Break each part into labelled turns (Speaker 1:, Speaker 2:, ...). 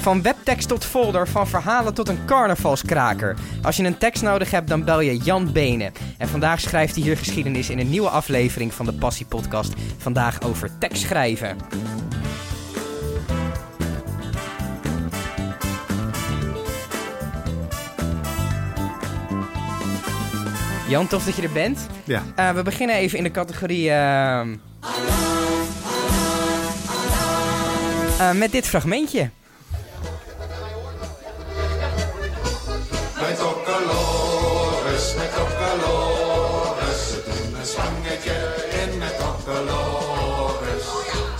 Speaker 1: Van webtekst tot folder, van verhalen tot een carnavalskraker. Als je een tekst nodig hebt, dan bel je Jan Benen. En vandaag schrijft hij hier geschiedenis in een nieuwe aflevering van de Passie Podcast. Vandaag over tekst schrijven. Jan, tof dat je er bent.
Speaker 2: Ja.
Speaker 1: Eh, we beginnen even in de categorie. ehm, eh, met dit fragmentje.
Speaker 3: Met kokkelores, met kokkelores. Ze doen een zwangetje in met kokkelores.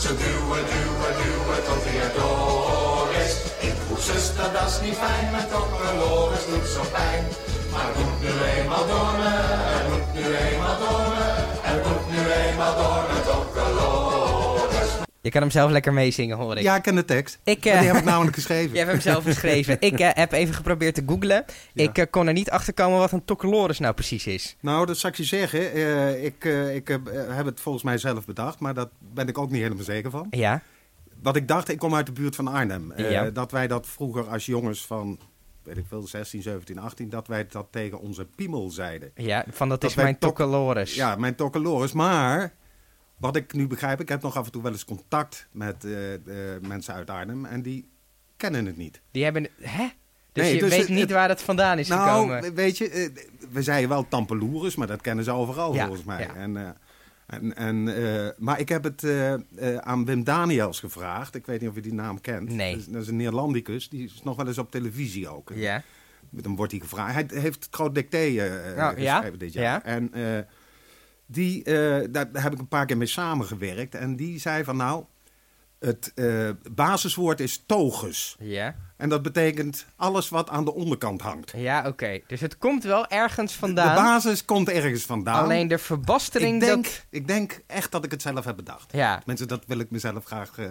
Speaker 3: Ze duwen, duwen, duwen tot hij er door is. Ik roep zuster, dat is niet fijn. Met kokkelores doet zo pijn. Maar het moet nu eenmaal door me, het moet nu eenmaal door me. Het moet nu eenmaal door met kokkelores.
Speaker 1: Je kan hem zelf lekker meezingen, hoor ik.
Speaker 2: Ja, ik ken de tekst.
Speaker 1: Ik,
Speaker 2: Maar
Speaker 1: eh,
Speaker 2: Die heb ik namelijk geschreven.
Speaker 1: Jij hebt hem zelf geschreven. ik eh, heb even geprobeerd te googlen. Ik eh, kon er niet achter komen wat een tokkelores nou precies is.
Speaker 2: Nou, dat zal ik je zeggen. Eh, ik eh, ik heb, eh, heb het volgens mij zelf bedacht, maar daar ben ik ook niet helemaal zeker van.
Speaker 1: Ja,
Speaker 2: Wat ik dacht, ik kom uit de buurt van Arnhem. Eh,
Speaker 1: Ja.
Speaker 2: Dat wij dat vroeger als jongens van, weet ik veel, 16, 17, 18, dat wij dat tegen onze piemel zeiden.
Speaker 1: ja van dat,
Speaker 2: Dat
Speaker 1: is
Speaker 2: wij
Speaker 1: mijn
Speaker 2: tok-
Speaker 1: tokkelores.
Speaker 2: Ja, mijn tokkelores. Maar wat ik nu begrijp, ik heb nog af en toe wel eens contact met eh, eh, mensen uit Arnhem en die kennen het niet.
Speaker 1: Die hebben... Hè? Dus
Speaker 2: Nee,
Speaker 1: je
Speaker 2: dus
Speaker 1: weet
Speaker 2: het-
Speaker 1: niet
Speaker 2: het-
Speaker 1: waar dat vandaan is
Speaker 2: nou,
Speaker 1: gekomen.
Speaker 2: weet je, eh, we zeiden wel tampeloeres, maar dat kennen ze overal
Speaker 1: Ja,
Speaker 2: volgens mij.
Speaker 1: ja.
Speaker 2: En, eh, en, en, eh, maar ik heb het eh, eh, aan Wim Daniels gevraagd. Ik weet niet of je die naam kent.
Speaker 1: Nee.
Speaker 2: Dat is, dat is een Neerlandicus, die is nog wel eens op televisie ook.
Speaker 1: Ja.
Speaker 2: Dan wordt hij gevraagd. Hij heeft het groot dicté eh, eh,
Speaker 1: Nou, ja,
Speaker 2: geschreven dit jaar.
Speaker 1: ja.
Speaker 2: En eh, die, eh, daar heb ik een paar keer mee samengewerkt. En die zei van nou, het eh, basiswoord is togus.
Speaker 1: Ja,
Speaker 2: En dat betekent alles wat aan de onderkant hangt.
Speaker 1: ja oké. Dus het komt wel ergens vandaan.
Speaker 2: De basis komt ergens vandaan.
Speaker 1: Alleen de verbastering...
Speaker 2: ik denk,
Speaker 1: Dat...
Speaker 2: ik denk echt dat ik het zelf heb bedacht.
Speaker 1: Ja,
Speaker 2: Mensen, dat wil ik mezelf graag eh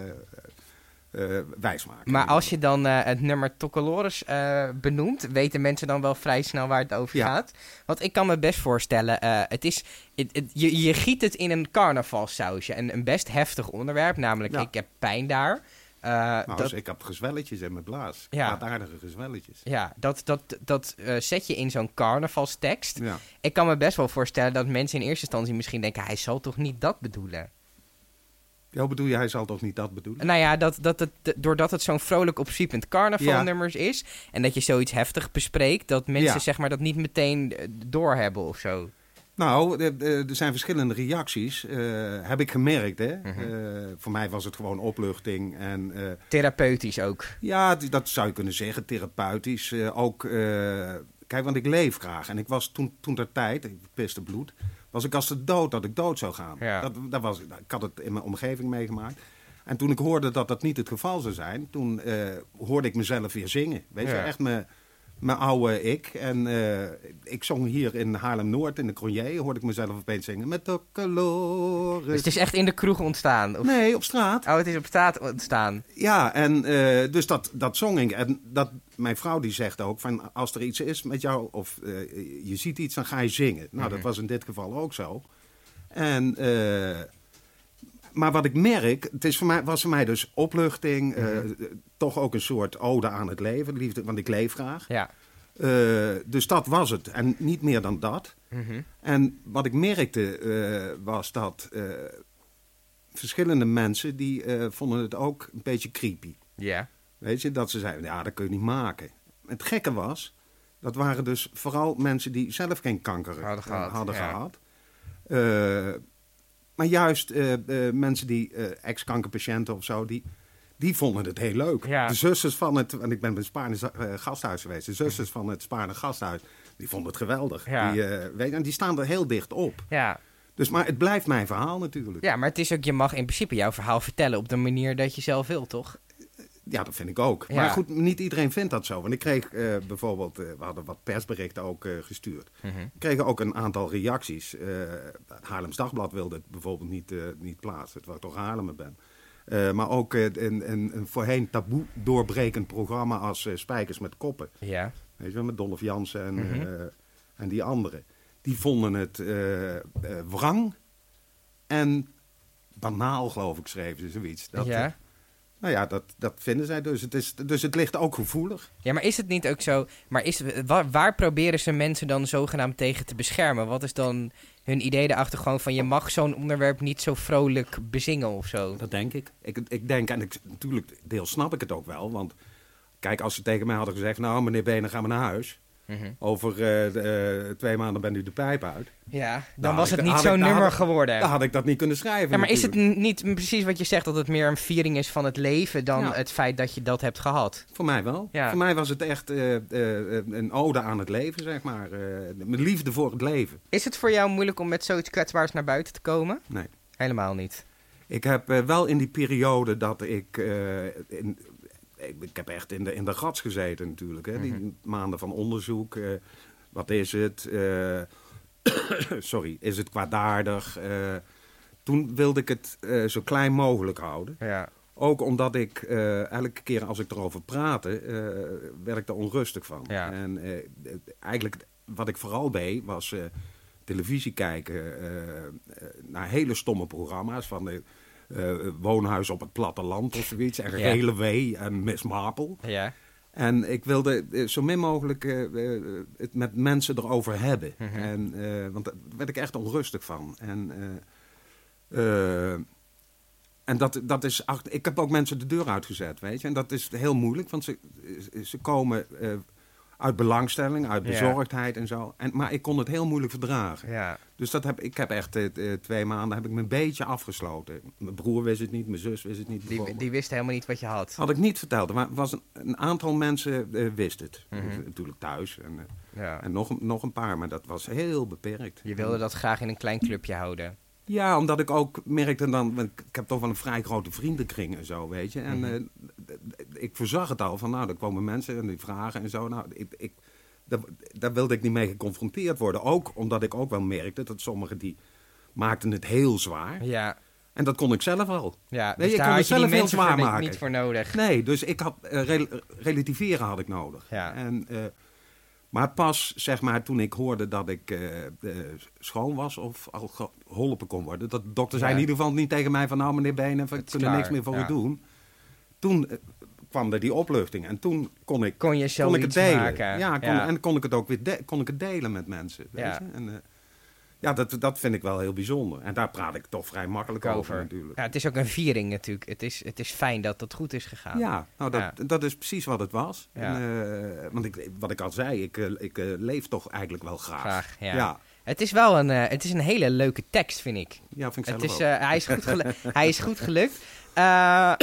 Speaker 2: eh, wijsmaken.
Speaker 1: Maar als je dan eh, het nummer Tokkelores eh, benoemt, weten mensen dan wel vrij snel waar het over
Speaker 2: Ja.
Speaker 1: gaat. Want ik kan me best voorstellen, eh, het is, het, het- je, je giet het in een carnavalsausje. Een, een best heftig onderwerp, namelijk
Speaker 2: Ja.
Speaker 1: ik heb pijn daar. Eh,
Speaker 2: Nou,
Speaker 1: dat,
Speaker 2: dus ik heb gezwelletjes in mijn blaas.
Speaker 1: Ja.
Speaker 2: Ja. aardige gezwelletjes.
Speaker 1: ja, dat, dat, dat eh, zet je in zo'n carnavalstekst.
Speaker 2: Ja.
Speaker 1: Ik kan me best wel voorstellen dat mensen in eerste instantie misschien denken, hij zal toch niet dat bedoelen?
Speaker 2: Jou bedoel je, hij zal toch niet dat bedoelen?
Speaker 1: Nou ja, dat, dat het, d- doordat het zo'n vrolijk opziepend carnavalnummers is... en dat je zoiets heftig bespreekt... dat mensen
Speaker 2: Ja.
Speaker 1: zeg maar, dat niet meteen eh, doorhebben of zo.
Speaker 2: Nou, eh, eh, er zijn verschillende reacties. eh, heb ik gemerkt, hè.
Speaker 1: Mhm.
Speaker 2: Eh, voor mij was het gewoon opluchting. En eh,
Speaker 1: Therapeutisch ook.
Speaker 2: ja, d- dat zou je kunnen zeggen, therapeutisch. eh, ook, eh, kijk, want ik leef graag. En ik was toen, toen ter tijd, ik piste bloed, was ik als de dood dat ik dood zou gaan.
Speaker 1: Ja.
Speaker 2: Dat, dat was, ik had het in mijn omgeving meegemaakt. En toen ik hoorde dat dat niet het geval zou zijn, toen eh, hoorde ik mezelf weer zingen. Weet je,
Speaker 1: Ja.
Speaker 2: echt mijn, mijn oude ik. En eh, ik zong hier in Haarlem-Noord, in de Cronier, hoorde ik mezelf opeens zingen. Met de
Speaker 1: Dus
Speaker 2: calores.
Speaker 1: het is echt in de kroeg ontstaan. Of...
Speaker 2: Nee, op straat.
Speaker 1: Oh, het is op straat ontstaan.
Speaker 2: Ja, en eh, dus dat, dat zong ik. En dat, mijn vrouw die zegt ook van als er iets is met jou of eh, je ziet iets, dan ga je zingen. Nou, dat was in dit geval ook zo. En, eh, maar wat ik merk, het is voor mij, was voor mij dus opluchting, eh, toch ook een soort ode aan het leven, liefde, want ik leef graag.
Speaker 1: Ja.
Speaker 2: Eh, dus dat was het. En niet meer dan dat. En wat ik merkte eh, was dat eh, verschillende mensen die eh, vonden het ook een beetje creepy.
Speaker 1: Ja.
Speaker 2: Weet je, dat ze zeiden, ja, dat kun je niet maken. Het gekke was, dat waren dus vooral mensen die zelf geen kanker eh,
Speaker 1: Hadden gehad, ja.
Speaker 2: gehad. Eh, maar juist eh, eh, mensen die eh, ex-kankerpatiënten of zo, die, die vonden het heel leuk.
Speaker 1: Ja.
Speaker 2: De zusters van het, want ik ben bij het Spaarne eh, gasthuis geweest, de zusters van het Spaarne gasthuis, die vonden het geweldig.
Speaker 1: Ja.
Speaker 2: Die, eh, weet, je, en die staan er heel dicht op.
Speaker 1: Ja.
Speaker 2: Dus, maar het blijft mijn verhaal natuurlijk.
Speaker 1: ja, maar het is ook, je mag in principe jouw verhaal vertellen op de manier dat je zelf wil, toch?
Speaker 2: Ja, dat vind ik ook.
Speaker 1: Ja.
Speaker 2: Maar goed, niet iedereen vindt dat zo. Want ik kreeg eh, bijvoorbeeld, eh, we hadden wat persberichten ook eh, gestuurd.
Speaker 1: Hm.
Speaker 2: We kregen ook een aantal reacties. Eh, het Haarlems Dagblad wilde het bijvoorbeeld niet, eh, niet plaatsen, terwijl ik toch Haarlemmer ben. Eh, maar ook eh, een, een, een voorheen taboe doorbrekend programma als eh, Spijkers met Koppen.
Speaker 1: Ja.
Speaker 2: Weet je wel, met Dolph Jansen en,
Speaker 1: Mhm.
Speaker 2: eh, en die anderen. Die vonden het eh, eh, wrang en banaal, geloof ik, schreven ze zoiets. Dat,
Speaker 1: ja.
Speaker 2: eh, Nou ja, dat, dat vinden zij dus. Het is, dus het ligt ook gevoelig.
Speaker 1: Ja, maar is het niet ook zo? Maar is, waar, waar proberen ze mensen dan zogenaamd tegen te beschermen? Wat is dan hun idee daarachter gewoon van je mag zo'n onderwerp niet zo vrolijk bezingen of zo?
Speaker 2: Dat denk ik. Ik, ik denk, en ik, natuurlijk, deels snap ik het ook wel. Want kijk, als ze tegen mij hadden gezegd: Nou, meneer Benen, ga maar naar huis.
Speaker 1: Mhm.
Speaker 2: Over eh, de, eh, twee maanden ben u de pijp uit.
Speaker 1: Ja, dan
Speaker 2: Nou,
Speaker 1: was
Speaker 2: ik-
Speaker 1: het niet
Speaker 2: had ik-
Speaker 1: zo'n
Speaker 2: nou,
Speaker 1: nummer
Speaker 2: had ik-
Speaker 1: geworden.
Speaker 2: Dan had ik dat niet kunnen schrijven.
Speaker 1: Ja, maar is het
Speaker 2: natuurlijk.
Speaker 1: n- niet precies wat je zegt dat het meer een viering is van het leven dan
Speaker 2: Ja.
Speaker 1: het feit dat je dat hebt gehad?
Speaker 2: Voor mij wel.
Speaker 1: Ja.
Speaker 2: Voor mij was het echt eh, eh, een ode aan het leven, zeg maar. Eh, mijn liefde voor het leven.
Speaker 1: Is het voor jou moeilijk om met zoiets kwetsbaars naar buiten te komen?
Speaker 2: Nee.
Speaker 1: Helemaal niet.
Speaker 2: Ik heb eh, wel in die periode dat ik. eh, in, ik, ik heb echt in de, in de rats gezeten, natuurlijk. Hè? Die maanden van onderzoek. eh, wat is het? eh, sorry, is het kwaadaardig? Eh, toen wilde ik het eh, zo klein mogelijk houden.
Speaker 1: Ja.
Speaker 2: Ook omdat ik eh, elke keer als ik erover praatte, eh werd ik er onrustig van.
Speaker 1: Ja.
Speaker 2: En eh, het- eigenlijk wat ik vooral deed, was eh, televisie kijken eh, eh, naar hele stomme programma's van de, eh, Woonhuis op het platteland of zoiets. En
Speaker 1: Ja.
Speaker 2: Gele Wee en Miss Marple.
Speaker 1: Ja.
Speaker 2: En ik wilde eh, zo min mogelijk eh, eh, het met mensen erover hebben.
Speaker 1: Mhm.
Speaker 2: en, eh, want daar werd ik echt onrustig van. En, eh, eh, en dat, dat is. ach- Ik heb ook mensen de deur uitgezet, weet je. En dat is heel moeilijk, want ze, ze komen eh, uit belangstelling, uit
Speaker 1: Ja.
Speaker 2: bezorgdheid en zo. En, maar ik kon het heel moeilijk verdragen.
Speaker 1: ja.
Speaker 2: Dus dat heb, ik heb echt eh, eh, twee maanden heb ik me een beetje afgesloten. Mijn broer wist het niet, mijn zus wist het niet.
Speaker 1: Die,
Speaker 2: bijvoorbeeld.
Speaker 1: die wist helemaal niet wat je had.
Speaker 2: Had ik niet verteld. Maar was een, een aantal mensen eh, wist het.
Speaker 1: Mhm.
Speaker 2: Dus Natuurlijk thuis. En, eh,
Speaker 1: Ja.
Speaker 2: en nog, een- nog een paar, maar dat was heel beperkt.
Speaker 1: Je wilde dat graag in een klein clubje houden.
Speaker 2: Ja, omdat ik ook merkte dan... want ik- Ik heb toch wel een vrij grote vriendenkring en zo, weet je. En
Speaker 1: Mhm.
Speaker 2: eh, d- d- ik voorzag het al van, nou, er komen mensen en die vragen en zo. Nou, ik, ik, daar, daar wilde ik niet mee geconfronteerd worden. Ook omdat ik ook wel merkte dat sommigen die maakten het heel zwaar.
Speaker 1: Ja.
Speaker 2: En dat kon ik zelf al.
Speaker 1: Ja,
Speaker 2: Nee,
Speaker 1: dus
Speaker 2: je
Speaker 1: daar
Speaker 2: kan
Speaker 1: had
Speaker 2: het
Speaker 1: je die
Speaker 2: zelf heel
Speaker 1: mensen
Speaker 2: zwaar
Speaker 1: voor niet-
Speaker 2: maken.
Speaker 1: niet voor nodig.
Speaker 2: Nee, dus ik had eh, rel- relativeren had ik nodig.
Speaker 1: Ja.
Speaker 2: En, eh, maar pas zeg maar toen ik hoorde dat ik eh, eh, schoon was of al geholpen kon worden, dat de dokter zei
Speaker 1: Ja.
Speaker 2: in ieder geval niet tegen mij van nou meneer Benen, we
Speaker 1: Het is
Speaker 2: kunnen
Speaker 1: klaar,
Speaker 2: niks meer voor
Speaker 1: ja.
Speaker 2: u doen. Toen eh, kwam er die opluchting en toen kon ik,
Speaker 1: Kon je zelf
Speaker 2: kon ik het
Speaker 1: iets
Speaker 2: delen.
Speaker 1: maken.
Speaker 2: Ja, kon,
Speaker 1: Ja.
Speaker 2: en kon ik het ook weer de- kon ik het delen met mensen. Weet
Speaker 1: Ja.
Speaker 2: je? En, eh, ja, dat, dat vind ik wel heel bijzonder. En daar praat ik toch vrij makkelijk over,
Speaker 1: Over.
Speaker 2: natuurlijk.
Speaker 1: Ja, het is ook een viering natuurlijk. Het is, het is fijn dat dat goed is gegaan.
Speaker 2: Ja, nou dat,
Speaker 1: Ja.
Speaker 2: dat is precies wat het was.
Speaker 1: Ja.
Speaker 2: En, eh, want ik, wat ik al zei, ik, eh, ik eh, leef toch eigenlijk wel graag.
Speaker 1: Graag, ja.
Speaker 2: ja,
Speaker 1: Het is wel een, eh, het is een hele leuke tekst, vind ik.
Speaker 2: Ja, vind ik zelf
Speaker 1: Het is,
Speaker 2: ook.
Speaker 1: eh, hij, is goed gelu- hij is goed gelukt. Eh,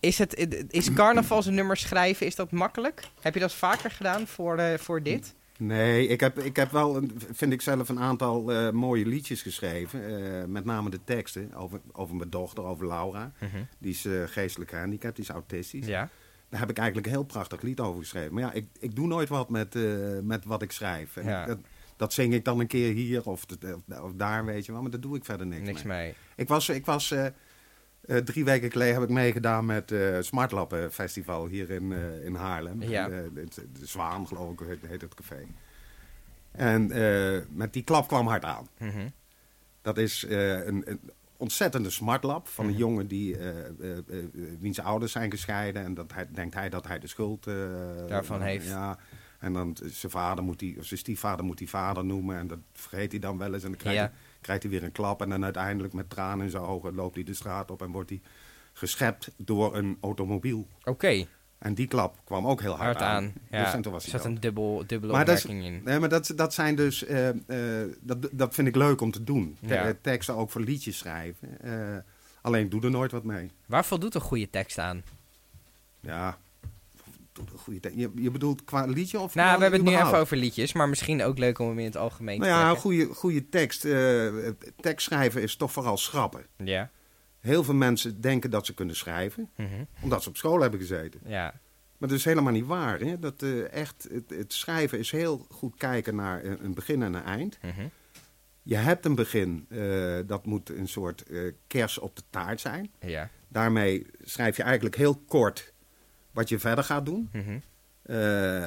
Speaker 1: is, het, is carnavalsnummers schrijven, is dat makkelijk? Heb je dat vaker gedaan voor, eh, voor dit?
Speaker 2: Nee, ik heb, ik heb wel, een, vind ik zelf, een aantal eh, mooie liedjes geschreven. eh, met name de teksten over, over mijn dochter, over Laura. Die is eh, geestelijk gehandicapt, die is autistisch.
Speaker 1: Mhm. Ja.
Speaker 2: Daar heb ik eigenlijk een heel prachtig lied over geschreven. Maar ja, ik, ik doe nooit wat met, eh, met wat ik schrijf. En
Speaker 1: Ja.
Speaker 2: Dat, dat zing ik dan een keer hier of, of daar, weet je wel. Maar daar doe ik verder niks,
Speaker 1: Niks
Speaker 2: mee.
Speaker 1: mee.
Speaker 2: Ik was, ik was eh, eh, drie weken geleden heb ik meegedaan met eh Smartlappen Festival hier in, eh, in Haarlem.
Speaker 1: Ja.
Speaker 2: Eh, het- de, Zwaan, geloof ik, heet- heet het café. En eh, met die klap kwam hard aan.
Speaker 1: Mhm.
Speaker 2: Dat is eh, een, een ontzettende smartlap van
Speaker 1: Mhm.
Speaker 2: een jongen die, eh, eh, eh, wiens ouders zijn gescheiden. En dat hij, denkt hij dat hij de schuld... eh,
Speaker 1: Daarvan heeft.
Speaker 2: Ja. En dan eh, zijn vader moet die, of zijn stiefvader moet die vader noemen. En dat vergeet hij dan wel eens. En dan krijgt,
Speaker 1: Ja.
Speaker 2: hij, krijgt hij weer een klap. En dan uiteindelijk met tranen in zijn ogen loopt hij de straat op. En wordt hij geschept door een automobiel.
Speaker 1: Oké,
Speaker 2: En die klap kwam ook heel hard,
Speaker 1: hard aan. Ja.
Speaker 2: Dus en toen was
Speaker 1: er
Speaker 2: hij
Speaker 1: zat
Speaker 2: dood.
Speaker 1: een dubbel, dubbele
Speaker 2: Maar dat, is,
Speaker 1: opmerking in.
Speaker 2: nee, maar dat, dat zijn dus. eh, eh, dat, dat vind ik leuk om te doen. Te-
Speaker 1: Ja.
Speaker 2: Teksten ook voor liedjes schrijven. Eh, alleen ik doe er nooit wat mee.
Speaker 1: Waar voldoet een goede tekst aan? Nou,
Speaker 2: Ja. Doe er goede te- Je, je bedoelt qua liedje of.
Speaker 1: Nou,
Speaker 2: gewoon
Speaker 1: we hebben het nu
Speaker 2: überhaupt?
Speaker 1: even over liedjes, maar misschien ook leuk om hem in het algemeen
Speaker 2: Nou
Speaker 1: te
Speaker 2: ja, een
Speaker 1: zeggen.
Speaker 2: goede, goede tekst. eh, tekst schrijven is toch vooral schrappen.
Speaker 1: Ja.
Speaker 2: Heel veel mensen denken dat ze kunnen schrijven,
Speaker 1: Mhm.
Speaker 2: omdat ze op school hebben gezeten.
Speaker 1: ja.
Speaker 2: Maar dat is helemaal niet waar. Hè? Dat, eh, echt, het, het schrijven is heel goed kijken naar eh, een begin en een eind.
Speaker 1: Mhm.
Speaker 2: Je hebt een begin, eh, dat moet een soort eh, kers op de taart zijn.
Speaker 1: Ja.
Speaker 2: Daarmee schrijf je eigenlijk heel kort wat je verder gaat doen.
Speaker 1: Mhm.
Speaker 2: Eh,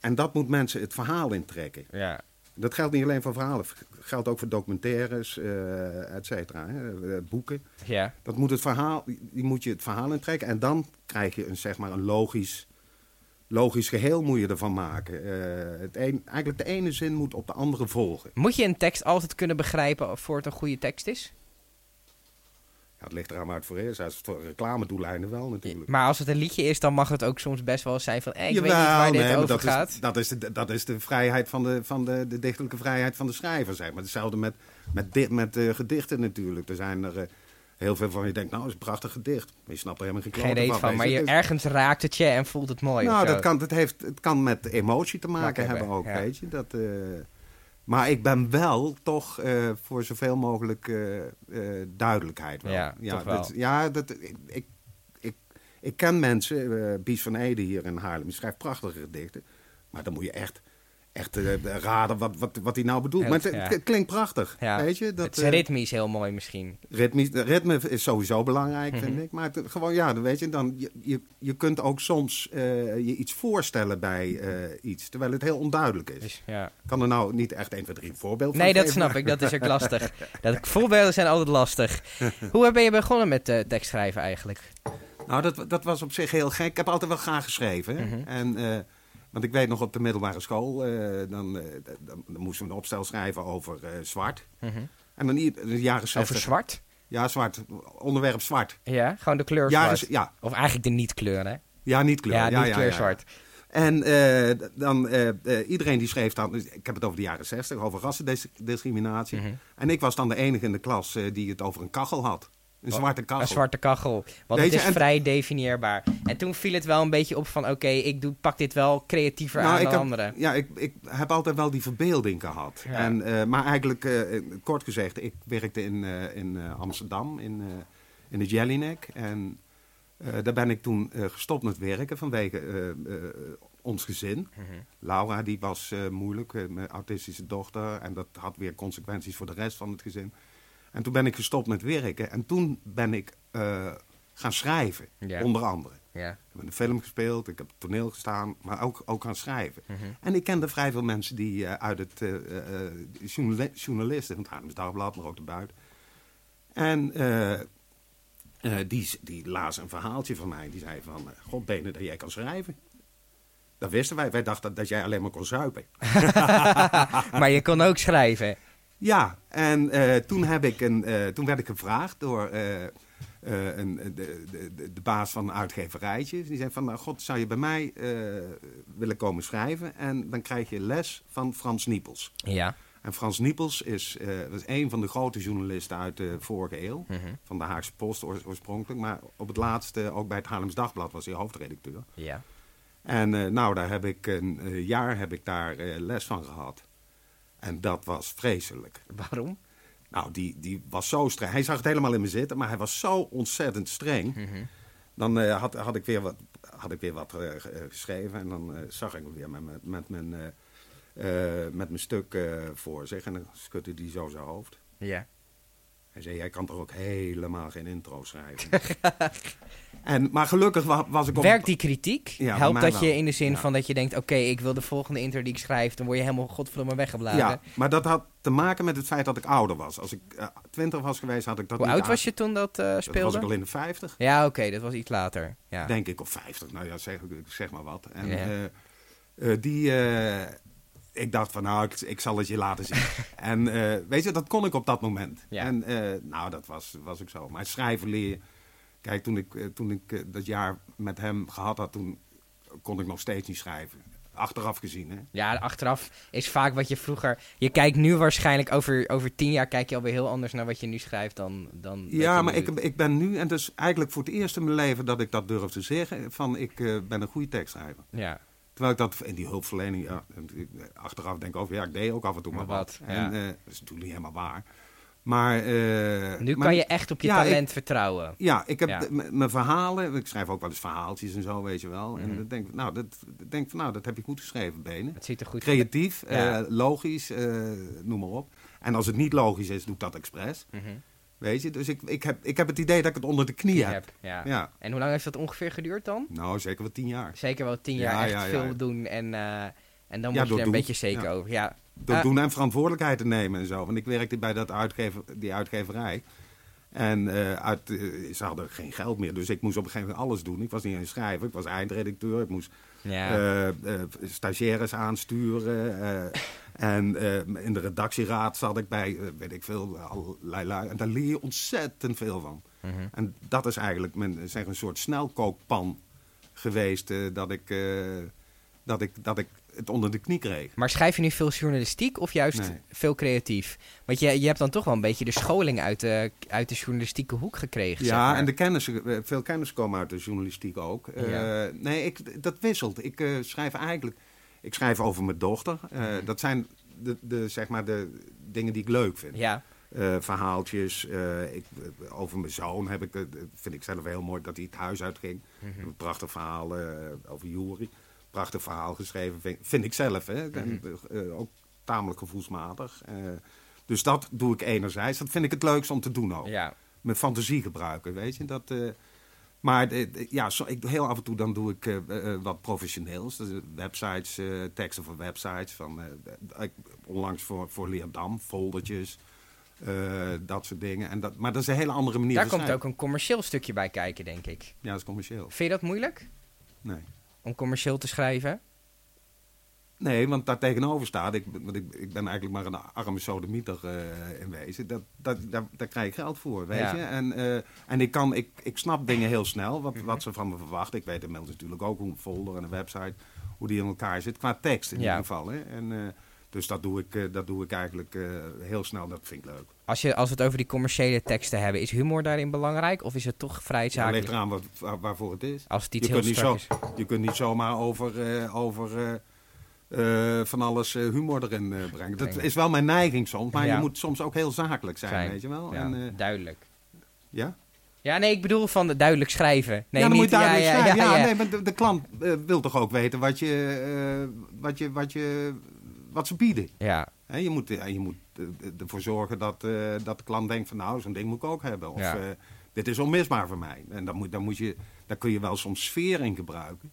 Speaker 2: en dat moet mensen het verhaal intrekken.
Speaker 1: Ja.
Speaker 2: Dat geldt niet alleen voor verhalen, het geldt ook voor documentaires, eh et cetera, hè, eh, boeken.
Speaker 1: Ja.
Speaker 2: Dat moet het verhaal, die moet je het verhaal intrekken. En dan krijg je een, zeg maar, een logisch, logisch geheel moet je ervan maken. Eh, het een, eigenlijk de ene zin moet op de andere volgen.
Speaker 1: Moet je een tekst altijd kunnen begrijpen of voor het een goede tekst is?
Speaker 2: Ja, het ligt eraan waar het voor is. Als het voor reclamedoeleinden wel natuurlijk.
Speaker 1: Maar als het een liedje is, dan mag het ook soms best wel zijn van... eh, ik weet
Speaker 2: Jawel,
Speaker 1: niet waar dit
Speaker 2: nee, maar
Speaker 1: over
Speaker 2: dat
Speaker 1: gaat.
Speaker 2: Is, dat, is de, dat is de vrijheid van de, van de, de dichtelijke vrijheid van de schrijver, zeg maar. Hetzelfde met, met, di- met eh, gedichten natuurlijk. Er zijn er eh, heel veel van je denkt, nou, is een prachtig gedicht. Maar je snapt er helemaal geen
Speaker 1: Geen
Speaker 2: klote
Speaker 1: reet van,
Speaker 2: weet
Speaker 1: maar je,
Speaker 2: Het is-
Speaker 1: ergens raakt het je en voelt het mooi.
Speaker 2: Nou,
Speaker 1: of zo.
Speaker 2: dat kan, dat heeft, het kan met emotie te maken
Speaker 1: Mag
Speaker 2: hebben
Speaker 1: hebben,
Speaker 2: ook,
Speaker 1: ja.
Speaker 2: weet je. Dat, eh, maar ik ben wel toch eh, voor zoveel mogelijk eh, eh, duidelijkheid. Wel.
Speaker 1: Ja, toch wel.
Speaker 2: Dat, ja dat, ik, ik, ik, ik ken mensen, eh, Bies van Ede hier in Haarlem, die schrijft prachtige gedichten. Maar dan moet je echt, echt eh, raden wat hij wat, wat hij nou bedoelt.
Speaker 1: Ja,
Speaker 2: maar
Speaker 1: dat-
Speaker 2: het, het
Speaker 1: ja.
Speaker 2: klinkt prachtig,
Speaker 1: Ja.
Speaker 2: weet je. Dat,
Speaker 1: het is
Speaker 2: eh,
Speaker 1: ritmisch heel mooi misschien.
Speaker 2: Ritmisch, de ritme is sowieso belangrijk,
Speaker 1: Mhm.
Speaker 2: vind ik. Maar het- gewoon, ja, dan weet je, dan, je, je, je kunt ook soms eh, je iets voorstellen bij eh, iets, terwijl het heel onduidelijk is.
Speaker 1: Dus, ja.
Speaker 2: Ik kan er nou niet echt 1, 2, 3 voorbeeld van
Speaker 1: Nee, dat
Speaker 2: geven,
Speaker 1: snap ik. Dat is ook lastig. Dat, voorbeelden zijn altijd lastig. Hoe ben je begonnen met eh, tekstschrijven eigenlijk?
Speaker 2: Nou, dat, dat was op zich heel gek. Ik heb altijd wel graag geschreven. hè.
Speaker 1: Mhm.
Speaker 2: en, eh, want ik weet nog op de middelbare school, eh, dan, eh, d- dan, dan moesten we een opstel schrijven over eh, zwart. En dan ieder- de jaren 60.
Speaker 1: Mhm. Over zwart?
Speaker 2: Ja, zwart. Onderwerp zwart.
Speaker 1: Ja, gewoon de kleur
Speaker 2: Jaren,
Speaker 1: zwart.
Speaker 2: ja,
Speaker 1: Of eigenlijk de niet-kleur, hè?
Speaker 2: ja, niet kleur.
Speaker 1: ja,
Speaker 2: ja,
Speaker 1: niet-kleur
Speaker 2: ja.
Speaker 1: zwart.
Speaker 2: En eh, d- dan, eh, eh, iedereen die schreef dan, ik heb het over de jaren 60, over rassendiscriminatie.
Speaker 1: Mhm.
Speaker 2: En ik was dan de enige in de klas eh, die het over een kachel had. Een zwarte kachel.
Speaker 1: Oh, Een zwarte kachel. Want
Speaker 2: Weet
Speaker 1: het
Speaker 2: je,
Speaker 1: is
Speaker 2: en-
Speaker 1: vrij definieerbaar. En toen viel het wel een beetje op van... Oké, ik doe, pak dit wel creatiever aan
Speaker 2: Nou, ik
Speaker 1: dan
Speaker 2: heb,
Speaker 1: anderen.
Speaker 2: Ja, ik, ik heb altijd wel die verbeelding gehad.
Speaker 1: Ja.
Speaker 2: En, eh, maar eigenlijk, eh, kort gezegd, ik werkte in, eh, in eh, Amsterdam, in, eh, in de Jellinek. En eh, daar ben ik toen eh, gestopt met werken vanwege eh, eh, ons gezin.
Speaker 1: Mhm.
Speaker 2: Laura, die was eh, moeilijk, eh, mijn autistische dochter. En dat had weer consequenties voor de rest van het gezin. En toen ben ik gestopt met werken. En toen ben ik eh, gaan schrijven,
Speaker 1: Ja.
Speaker 2: onder andere.
Speaker 1: Ja.
Speaker 2: Ik heb in een film gespeeld, ik heb op toneel gestaan, maar ook, ook aan schrijven. En ik kende vrij veel mensen die eh, uit het eh, eh, eh, journali- journalisten, van het Haarlems Dagblad, maar ook de buiten. En eh, eh, die, die lazen een verhaaltje van mij. Die zei van, eh, god benen dat jij kan schrijven. Dat wisten wij. Wij dachten dat jij alleen maar kon zuipen. Ah,
Speaker 1: maar je kon ook schrijven.
Speaker 2: Ja, en eh, toen, heb ik een, eh, toen werd ik gevraagd door eh, eh, een, de, de, de- de baas van een uitgeverijtje. Die zei van, nou god, zou je bij mij eh, willen komen schrijven? En dan krijg je les van Frans Niepels.
Speaker 1: Ja.
Speaker 2: En Frans Niepels is, eh, was een van de grote journalisten uit de vorige eeuw. Van de Haagse Post oors- oorspronkelijk. Maar op het laatste, ook bij het Haarlems Dagblad, was hij hoofdredacteur.
Speaker 1: Ja.
Speaker 2: En eh, nou, daar heb ik een eh, jaar heb ik daar eh, les van gehad. En dat was vreselijk.
Speaker 1: Waarom?
Speaker 2: Nou, die, die was zo streng. Hij zag het helemaal in me zitten, maar hij was zo ontzettend streng.
Speaker 1: Mhm.
Speaker 2: Dan eh, had, had ik weer wat, had ik weer wat eh, ge- eh, geschreven en dan eh, zag ik hem weer met, met, met, mijn, eh, eh, met mijn stuk eh, voor zich. En dan schudde hij zo zijn hoofd.
Speaker 1: Ja.
Speaker 2: Hij zei, jij kan toch ook helemaal geen intro schrijven? en, maar gelukkig wa- was ik op...
Speaker 1: Werkt die kritiek?
Speaker 2: Ja, bij
Speaker 1: Helpt
Speaker 2: mij
Speaker 1: dat je
Speaker 2: wel.
Speaker 1: in de zin
Speaker 2: Ja.
Speaker 1: van dat je denkt... Oké, ik wil de volgende intro die ik schrijf... Dan word je helemaal godverdomme weggeblazen.
Speaker 2: Ja, maar dat had te maken met het feit dat ik ouder was. Als ik eh, twintig was geweest, had ik dat
Speaker 1: Hoe
Speaker 2: niet
Speaker 1: oud
Speaker 2: aan-
Speaker 1: was je toen dat eh,
Speaker 2: Dat was
Speaker 1: speelde?
Speaker 2: ik al in de vijftig.
Speaker 1: Ja, oké, dat was iets later. Ja.
Speaker 2: denk ik, of 50, nou ja, zeg, zeg maar wat. En
Speaker 1: Ja.
Speaker 2: eh, eh, die, eh, ik dacht van nou, ik, ik zal het je laten zien. en eh, weet je, dat kon ik op dat moment.
Speaker 1: Ja.
Speaker 2: En eh, nou, dat was, was ik zo. Maar schrijven leren, kijk, toen ik, eh, toen ik eh, dat jaar met hem gehad had, toen kon ik nog steeds niet schrijven. Achteraf gezien, hè.
Speaker 1: Ja, achteraf is vaak wat je vroeger... Je kijkt nu waarschijnlijk over, over tien jaar... kijk je alweer heel anders naar wat je nu schrijft dan... dan dat je
Speaker 2: Ja,
Speaker 1: nu
Speaker 2: maar ik,
Speaker 1: doet.
Speaker 2: ik ben nu, en dat is eigenlijk voor het eerst in mijn leven dat ik dat durf te zeggen, van ik eh, ben een goede tekstschrijver.
Speaker 1: Ja,
Speaker 2: Terwijl ik dat in die hulpverlening, ja, en ik, eh, achteraf denk ik over, ja, ik deed ook af en toe
Speaker 1: Maar
Speaker 2: maar
Speaker 1: wat, ja.
Speaker 2: wat. En, eh, dat is natuurlijk niet helemaal waar. Maar. eh,
Speaker 1: nu
Speaker 2: maar
Speaker 1: kan je echt op je
Speaker 2: Ja, ik-
Speaker 1: talent vertrouwen.
Speaker 2: Ja, ik heb
Speaker 1: Ja.
Speaker 2: de- m- mijn verhalen, ik schrijf ook wel eens verhaaltjes en zo, weet je wel. En
Speaker 1: Mhm.
Speaker 2: dan denk ik, nou, dat, dan denk ik van, nou, dat heb je goed geschreven, benen.
Speaker 1: Het ziet er goed uit.
Speaker 2: Creatief,
Speaker 1: Ja.
Speaker 2: eh, logisch, eh, noem maar op. En als het niet logisch is, doe ik dat expres.
Speaker 1: Mhm.
Speaker 2: Weet je, dus ik, ik, heb, ik heb het idee dat ik het onder de knie,
Speaker 1: Je
Speaker 2: heb.
Speaker 1: hebt, ja.
Speaker 2: Ja,
Speaker 1: En hoe lang heeft dat ongeveer geduurd dan?
Speaker 2: nou, zeker wel tien jaar.
Speaker 1: Zeker wel tien
Speaker 2: Ja,
Speaker 1: jaar echt
Speaker 2: ja, ja.
Speaker 1: veel doen en eh, En dan
Speaker 2: Ja,
Speaker 1: moet je
Speaker 2: door
Speaker 1: er een
Speaker 2: doen.
Speaker 1: beetje zeker
Speaker 2: Ja.
Speaker 1: over. Ja.
Speaker 2: Door
Speaker 1: Ah,
Speaker 2: doen en verantwoordelijkheid te nemen en zo. Want ik werkte bij dat uitgever, die uitgeverij. En eh, uit, eh, ze hadden geen geld meer. Dus ik moest op een gegeven moment alles doen. Ik was niet een schrijver, ik was eindredacteur. Ik moest
Speaker 1: Ja.
Speaker 2: eh, eh, stagiaires aansturen. eh, en eh, in de redactieraad zat ik bij, eh, weet ik veel, allerlei lui. En daar leer je ontzettend veel van. En dat is eigenlijk mijn, zeg, een soort snelkookpan geweest. eh, dat, ik, eh, dat, ik, dat ik het onder de knie kreeg.
Speaker 1: Maar schrijf je nu veel journalistiek of juist
Speaker 2: Nee.
Speaker 1: veel creatief? Want je, je hebt dan toch wel een beetje de scholing uit de, uit de journalistieke hoek gekregen. zeg
Speaker 2: Ja,
Speaker 1: maar.
Speaker 2: en de kennis, eh, veel kennis komen uit de journalistiek ook. Eh,
Speaker 1: Ja.
Speaker 2: nee, ik, dat wisselt. Ik eh, schrijf eigenlijk... Ik schrijf over mijn dochter. Eh,
Speaker 1: Mhm.
Speaker 2: Dat zijn de, de, zeg maar de dingen die ik leuk vind.
Speaker 1: Ja,
Speaker 2: Eh, verhaaltjes. eh, ik, over mijn zoon heb ik, eh, vind ik zelf heel mooi dat hij het huis uitging.
Speaker 1: Mhm.
Speaker 2: Een prachtig verhaal eh, over Juri. Prachtig verhaal geschreven, vind, vind ik zelf. Hè?
Speaker 1: Mhm.
Speaker 2: En, eh, ook tamelijk gevoelsmatig. Eh, dus dat doe ik enerzijds. Dat vind ik het leukst om te doen ook
Speaker 1: ja.
Speaker 2: mijn fantasie gebruiken, weet je. Dat, eh, maar eh, ja, zo, ik, heel af en toe dan doe ik eh, eh, wat professioneels. Dus, eh, websites, eh, teksten voor websites. Van, eh, ik- onlangs voor, voor Leerdam, foldertjes, eh, dat soort dingen. En dat, maar dat is een hele andere manier
Speaker 1: daar
Speaker 2: van
Speaker 1: komt ook
Speaker 2: schrijven.
Speaker 1: een commercieel stukje bij kijken, denk ik.
Speaker 2: Ja, dat is commercieel.
Speaker 1: Vind je dat moeilijk
Speaker 2: Nee.
Speaker 1: om commercieel te schrijven?
Speaker 2: Nee, want daar tegenover staat, ik, want ik, ik ben eigenlijk maar een arme sodemieter eh, in wezen. Dat, dat, daar, daar krijg ik geld voor, weet
Speaker 1: Ja.
Speaker 2: je. En, eh, en ik, kan, ik, ik snap dingen heel snel, wat, wat ze van me verwachten. Ik weet inmiddels natuurlijk ook hoe een folder en een website, hoe die in elkaar zit. Qua tekst in
Speaker 1: Ja.
Speaker 2: ieder geval. Hè. En, eh, dus dat doe ik, eh, dat doe ik eigenlijk eh, heel snel, dat vind ik leuk.
Speaker 1: Als, je, als we het over die commerciële teksten hebben, is humor daarin belangrijk? Of is het toch vrij
Speaker 2: Ja, ligt
Speaker 1: zakelijk?
Speaker 2: eraan wat, waar- waarvoor het is.
Speaker 1: als het
Speaker 2: Je
Speaker 1: iets
Speaker 2: kunt,
Speaker 1: heel
Speaker 2: niet
Speaker 1: strak
Speaker 2: zo,
Speaker 1: is.
Speaker 2: je kunt niet zomaar over, eh, over eh, eh, van alles eh, humor erin eh, brengen. Dat
Speaker 1: Brengen.
Speaker 2: is wel mijn neiging soms, maar
Speaker 1: Ja.
Speaker 2: je moet soms ook heel zakelijk zijn,
Speaker 1: Fijn.
Speaker 2: weet je wel.
Speaker 1: Ja,
Speaker 2: En, eh,
Speaker 1: duidelijk.
Speaker 2: ja?
Speaker 1: Ja, nee, ik bedoel van de- duidelijk schrijven. Nee,
Speaker 2: ja, dan
Speaker 1: niet,
Speaker 2: moet je duidelijk
Speaker 1: ja, ja,
Speaker 2: schrijven.
Speaker 1: ja,
Speaker 2: Ja,
Speaker 1: ja.
Speaker 2: Nee, maar de, de klant eh, wil toch ook weten wat, je, eh, wat, je, wat, je, wat ze bieden.
Speaker 1: Ja,
Speaker 2: Hè, je moet, eh, je moet eh, ervoor zorgen dat, eh, dat de klant denkt van nou, zo'n ding moet ik ook hebben. Of
Speaker 1: Ja.
Speaker 2: eh, dit is onmisbaar voor mij. En dan moet, dan moet je, daar kun je wel soms sfeer in gebruiken.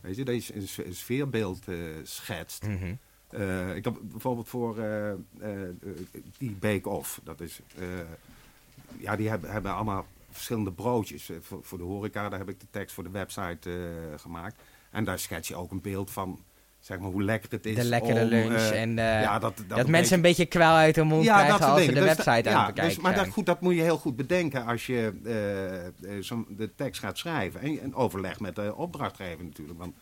Speaker 2: Weet je, dat je een s- een sfeerbeeld eh, schetst.
Speaker 1: Mhm.
Speaker 2: Eh, ik heb bijvoorbeeld voor eh, eh, eh, die Bake Off, dat is... eh, ja, die hebben, hebben allemaal verschillende broodjes. Eh, voor, voor de horeca, daar heb ik de tekst voor de website eh, gemaakt. En daar schets je ook een beeld van, zeg maar, hoe lekker het is
Speaker 1: de lekkere
Speaker 2: om,
Speaker 1: lunch.
Speaker 2: eh,
Speaker 1: en eh,
Speaker 2: ja,
Speaker 1: dat,
Speaker 2: dat- dat een
Speaker 1: mensen een beetje kwel uit hun mond krijgen
Speaker 2: soort
Speaker 1: als ze
Speaker 2: dingen.
Speaker 1: de
Speaker 2: Dus da-
Speaker 1: website aan het
Speaker 2: ja, dus-
Speaker 1: bekijken
Speaker 2: maar dat,
Speaker 1: zijn.
Speaker 2: goed, dat moet je heel goed bedenken als je eh, eh, zo'n- de tekst gaat schrijven. En, en overleg met de opdrachtgever natuurlijk. Want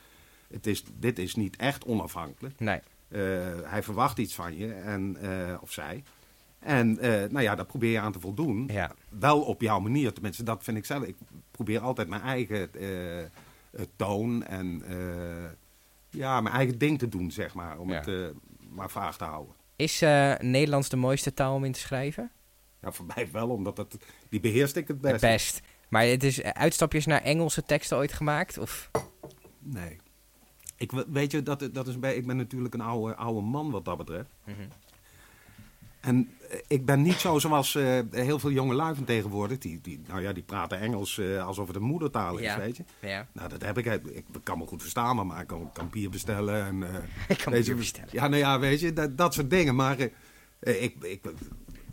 Speaker 2: het is, dit is niet echt onafhankelijk.
Speaker 1: Nee,
Speaker 2: Eh, hij verwacht iets van je, en, eh, of zij. En eh, nou ja, daar probeer je aan te voldoen.
Speaker 1: Ja.
Speaker 2: Wel op jouw manier. Tenminste, dat vind ik zelf. Ik probeer altijd mijn eigen eh, eh, toon en eh, ja, mijn eigen ding te doen, zeg maar. Om
Speaker 1: Ja.
Speaker 2: het eh, maar vaag te houden.
Speaker 1: is eh, Nederlands de mooiste taal om in te schrijven?
Speaker 2: Ja, Nou, voor mij wel, omdat dat, die beheerst ik het
Speaker 1: Het
Speaker 2: best.
Speaker 1: best. Maar het is eh, uitstapjes naar Engelse teksten ooit gemaakt? Of
Speaker 2: Nee. Ik, we- weet je, dat, dat is bij, ik ben natuurlijk een oude, oude man wat dat betreft.
Speaker 1: Mhm.
Speaker 2: En eh, ik ben niet zo zoals eh, heel veel jonge lui van tegenwoordig. Die, die, nou ja, die praten Engels eh, alsof het een moedertaal is,
Speaker 1: Ja.
Speaker 2: weet je.
Speaker 1: Ja.
Speaker 2: Nou, dat heb ik. Ik ik kan me goed verstaan, maar- maar ik kan, kan bier bestellen. En, eh,
Speaker 1: Ik kan
Speaker 2: weet
Speaker 1: bier
Speaker 2: je,
Speaker 1: bestellen.
Speaker 2: Ja, nou ja, weet je, dat, dat soort dingen. Maar eh, eh, ik, ik,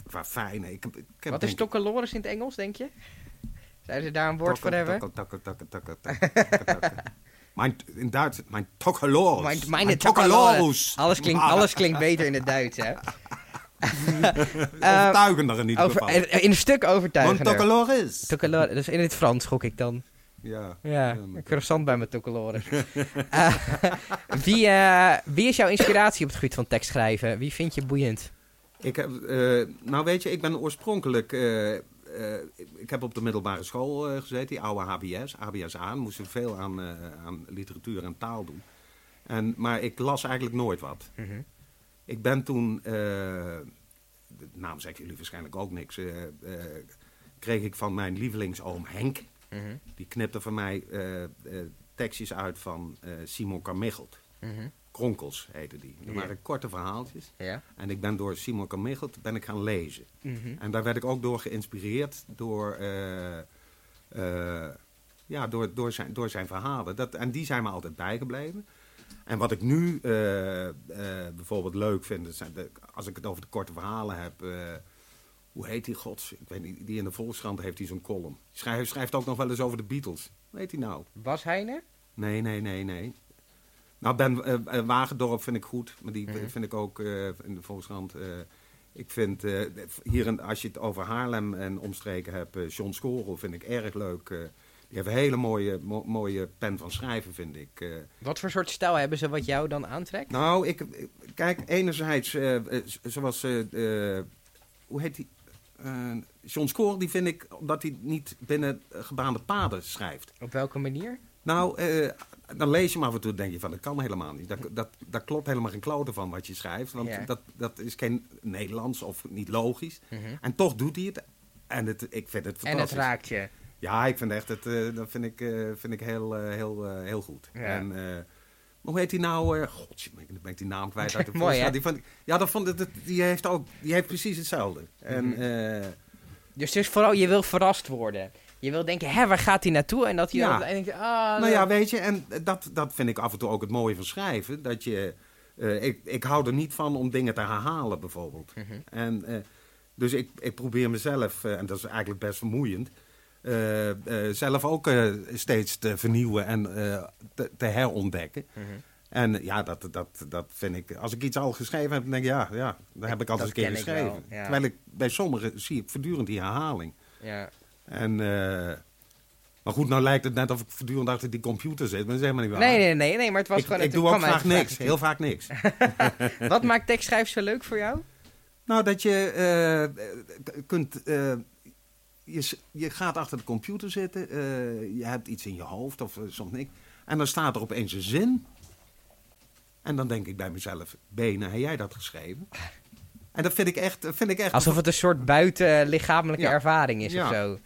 Speaker 2: qua fijn, ik, ik heb
Speaker 1: wat
Speaker 2: denk
Speaker 1: is
Speaker 2: ik-
Speaker 1: tokkeloris in het Engels, denk je? Zouden ze daar een woord voor
Speaker 2: Tokkel,
Speaker 1: hebben?
Speaker 2: tokkel, tokkel, tokkel, tokkel, tokkel, tokkel, tokkel. Mijn, in Duits, mijn tokkeloos.
Speaker 1: Mijn, mijn tokkeloris. Alles klinkt, alles klinkt beter in het Duits, hè? Eh,
Speaker 2: Overtuigender in ieder
Speaker 1: Over, eh,
Speaker 2: geval.
Speaker 1: in in een stuk
Speaker 2: Mijn
Speaker 1: overtuigender.
Speaker 2: tokkeloris.
Speaker 1: Tokkelor, dus in het Frans gok ik dan.
Speaker 2: Ja.
Speaker 1: Ja,
Speaker 2: maar-
Speaker 1: een croissant bij mijn tokkeloren. Eh, wie, eh, wie is jouw inspiratie op het gebied van tekstschrijven? Wie vind je boeiend?
Speaker 2: Ik heb, eh, nou weet je, ik ben oorspronkelijk... eh, eh, ik- ik heb op de middelbare school eh, gezeten, die oude HBS, HBS-A. Moesten veel aan, eh, aan literatuur en taal doen. En, maar ik las eigenlijk nooit wat. Ik ben toen, eh, de naam zeggen jullie waarschijnlijk ook niks, eh, eh, kreeg ik van mijn lievelingsoom Henk. Die knipte van mij eh, eh, tekstjes uit van eh, Simon Carmichelt. Kronkels heette die. Dat
Speaker 1: Ja.
Speaker 2: waren korte verhaaltjes.
Speaker 1: Mhm, Ja.
Speaker 2: En ik ben door Simon Carmichelt ben ik gaan lezen. En daar werd ik ook door geïnspireerd door, eh, eh, ja, door, door, zijn, door zijn verhalen. Dat, en die zijn me altijd bijgebleven. En wat ik nu eh, eh, bijvoorbeeld leuk vind, dat zijn de- als ik het over de korte verhalen heb. eh, hoe heet die gods? Ik weet niet, die in de Volkskrant heeft hij zo'n column. Hij schrijft, schrijft ook nog wel eens over de Beatles. Hoe heet hij nou?
Speaker 1: Bas Heijnen?
Speaker 2: Nee, nee, nee, nee. Nou, Ben eh, eh, Wagendorp vind ik goed, maar die vind ik ook eh, in de Volkskrant. eh, ik vind eh, hier, in- als je het over Haarlem en omstreken hebt, eh, John Scorel vind ik erg leuk. eh. die heeft een hele mooie, mo- mooie pen van schrijven, vind ik. eh.
Speaker 1: Wat voor soort stijl hebben ze wat jou dan aantrekt?
Speaker 2: Nou, ik, ik- kijk, enerzijds, eh, eh, z- zoals, eh, eh, hoe heet die? Eh, John Score, die vind ik, omdat hij niet binnen eh, gebaande paden schrijft.
Speaker 1: Op welke manier?
Speaker 2: Nou, eh, dan lees je hem af en toe denk je van, dat kan helemaal niet. Dat, dat, daar klopt helemaal geen klote van wat je schrijft, want
Speaker 1: Ja.
Speaker 2: dat, dat is geen Nederlands of niet logisch. En toch doet hij het. En het, ik vind het fantastisch.
Speaker 1: Mhm. En het raakt je.
Speaker 2: Ja, ik vind echt het, eh, dat vind ik, eh, vind ik heel, eh, heel, eh, heel goed.
Speaker 1: Ja.
Speaker 2: En, eh, maar hoe heet die nou? eh God, ben ik, ben ik die naam kwijt uit de
Speaker 1: Mooi,
Speaker 2: voorstraat.
Speaker 1: hè?
Speaker 2: Die vond ik- ja, dat vond ik, dat- die, heeft ook, die heeft precies hetzelfde.
Speaker 1: Mhm.
Speaker 2: En, eh,
Speaker 1: Dus het is vooral, je wil verrast worden. Je wil denken, hè, waar gaat hij naartoe? En dat hij
Speaker 2: Ja.
Speaker 1: dan op het eind denkt, ah...
Speaker 2: nou ja,
Speaker 1: dat-
Speaker 2: weet je, en dat, dat vind ik af en toe ook het mooie van schrijven. Dat je, eh, ik, ik hou er niet van om dingen te herhalen, bijvoorbeeld.
Speaker 1: Mhm.
Speaker 2: En, eh, dus ik, ik probeer mezelf, eh, en dat is eigenlijk best vermoeiend, eh, eh, zelf ook eh, steeds te vernieuwen en eh, te, te herontdekken.
Speaker 1: Mhm.
Speaker 2: En eh, ja, dat, dat, dat vind ik. Als ik iets al geschreven heb, dan denk ik, ja, ja dat heb ik
Speaker 1: dat
Speaker 2: altijd een keer
Speaker 1: ken ik wel,
Speaker 2: geschreven.
Speaker 1: ja.
Speaker 2: Terwijl ik bij sommigen zie ik voortdurend die herhaling.
Speaker 1: ja.
Speaker 2: En, eh, maar goed, nou lijkt het net of ik voortdurend achter die computer zit, maar dat is helemaal niet waar.
Speaker 1: Nee, nee, nee, nee, maar het was
Speaker 2: ik,
Speaker 1: gewoon...
Speaker 2: ik
Speaker 1: het
Speaker 2: doe
Speaker 1: kwam
Speaker 2: ook
Speaker 1: uit
Speaker 2: vaak
Speaker 1: de vraag
Speaker 2: niks, heel vaak niks.
Speaker 1: natuurlijk. Wat maakt tekstschrijven zo leuk voor jou?
Speaker 2: nou, dat je eh, eh, kunt... eh, je, s- je gaat achter de computer zitten, eh, je hebt iets in je hoofd of eh, soms niks. En dan staat er opeens een zin. En dan denk ik bij mezelf, Benen, heb jij dat geschreven? En dat vind ik echt... dat Vind ik echt
Speaker 1: Alsof het een soort buitenlichamelijke
Speaker 2: Ja.
Speaker 1: ervaring is
Speaker 2: Ja.
Speaker 1: of zo.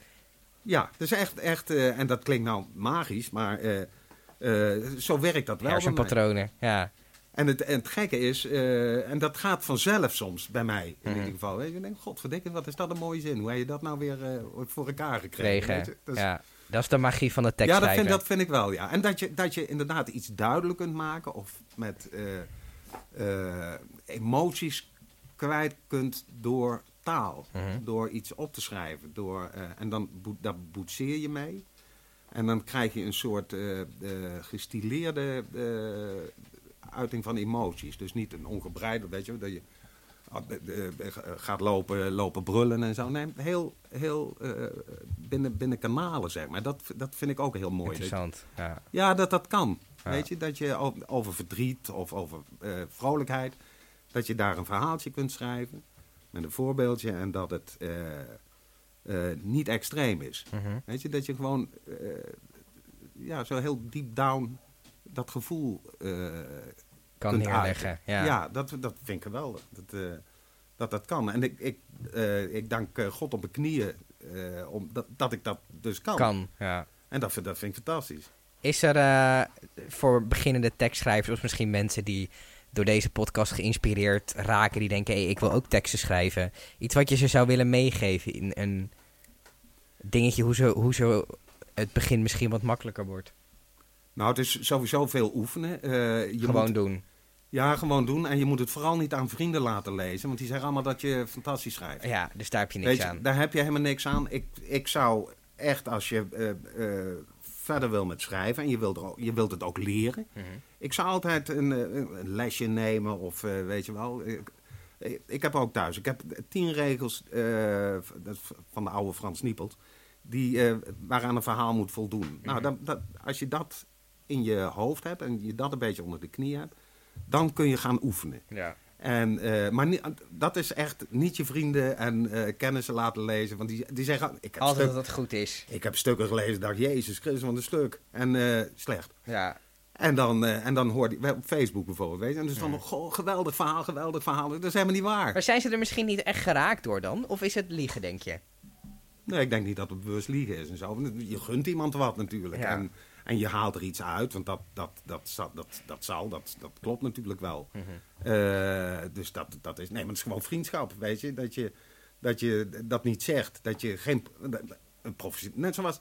Speaker 2: Ja, dus echt, echt eh, en dat klinkt nou magisch, maar eh, eh, zo werkt dat wel. bij mij.
Speaker 1: Hersenpatronen, ja.
Speaker 2: En het, en het gekke is, eh, en dat gaat vanzelf soms bij mij in
Speaker 1: Mhm.
Speaker 2: ieder geval. Weet je, ik denk, godverdikke, wat is dat een mooie zin. Hoe heb je dat nou weer eh, voor elkaar gekregen? weet
Speaker 1: Kregen.
Speaker 2: je? Dat is-
Speaker 1: ja. Dat is de magie van de
Speaker 2: ja, dat
Speaker 1: tekstschrijven.
Speaker 2: vind, dat vind ik wel, ja. En dat je, dat je inderdaad iets duidelijk kunt maken of met eh, eh, emoties kwijt kunt door taal.
Speaker 1: Mhm.
Speaker 2: Door iets op te schrijven. Door, eh, en dan boet, daar boetseer je mee. En dan krijg je een soort eh, eh, gestileerde eh, uiting van emoties. Dus niet een ongebreideld, weet je, dat je ah, eh, eh, gaat lopen, lopen brullen en zo. Nee, heel, heel eh, binnen, binnen kanalen, zeg maar. Dat, dat vind ik ook heel mooi. Dat-
Speaker 1: Interessant, ja.
Speaker 2: ja, dat dat kan.
Speaker 1: Ja.
Speaker 2: Weet je, dat je o- over verdriet of over eh, vrolijkheid, dat je daar een verhaaltje kunt schrijven met een voorbeeldje en dat het eh, eh, niet extreem is.
Speaker 1: Mhm.
Speaker 2: Weet je, dat je gewoon eh, ja, zo heel deep down dat gevoel eh,
Speaker 1: Kan
Speaker 2: kunt uiten.
Speaker 1: neerleggen, ja.
Speaker 2: dat, dat vind ik wel. Dat, eh, dat dat kan. En ik, ik, eh, ik dank eh, God op mijn knieën eh, om, dat, dat ik dat dus kan.
Speaker 1: Kan, ja.
Speaker 2: En dat, vind- dat vind ik fantastisch.
Speaker 1: Is er eh, voor beginnende tekstschrijvers of misschien mensen die door deze podcast geïnspireerd raken, die denken: hé, ik wil ook teksten schrijven, iets wat je ze zou willen meegeven in een dingetje hoe zo, hoe zo het begin misschien wat makkelijker wordt?
Speaker 2: Nou, het is sowieso veel oefenen. Eh, je
Speaker 1: Gewoon
Speaker 2: moet,
Speaker 1: doen.
Speaker 2: Ja, gewoon doen. En je moet het vooral niet aan vrienden laten lezen, want die zeggen allemaal dat je fantastisch schrijft.
Speaker 1: Ja, dus daar heb je niks
Speaker 2: Weet je,
Speaker 1: aan.
Speaker 2: daar heb je helemaal niks aan. Ik, ik zou echt, als je eh, eh, verder wil met schrijven en je wilt, er ook- je wilt het ook leren,
Speaker 1: Mhm.
Speaker 2: ik zou altijd een, eh, een lesje nemen of eh, weet je wel. Ik, ik heb ook thuis, ik heb tien regels eh, dat is van de oude Frans Niepelt, die, eh, waaraan een verhaal moet voldoen.
Speaker 1: Mhm.
Speaker 2: Nou, dat, dat, als je dat in je hoofd hebt en je dat een beetje onder de knie hebt, dan kun je gaan oefenen.
Speaker 1: Ja.
Speaker 2: En, eh, maar ni- dat is echt niet je vrienden en eh, kennissen laten lezen. Want die, die zeggen, ik heb,
Speaker 1: Altijd
Speaker 2: stuk-
Speaker 1: dat het goed is.
Speaker 2: ik heb stukken gelezen, dacht, jezus Christus, wat een stuk. En eh, slecht.
Speaker 1: Ja.
Speaker 2: En dan, eh, en dan hoor je, op Facebook bijvoorbeeld, weet je. En dus van, goh, geweldig verhaal, geweldig verhaal. Dat is helemaal niet
Speaker 1: Maar
Speaker 2: waar.
Speaker 1: zijn ze er misschien niet echt geraakt door dan? Of is het liegen, denk je?
Speaker 2: Nee, ik denk niet dat het bewust liegen is en zo. Want Je gunt iemand wat natuurlijk.
Speaker 1: Ja.
Speaker 2: En, en je haalt er iets uit, want dat, dat, dat, zal- dat, dat zal, dat, dat klopt natuurlijk wel.
Speaker 1: Mhm.
Speaker 2: Eh, dus dat, dat is, nee, maar het is gewoon vriendschap, weet je. Dat je dat, je dat niet zegt, dat je geen... Een professie- net zoals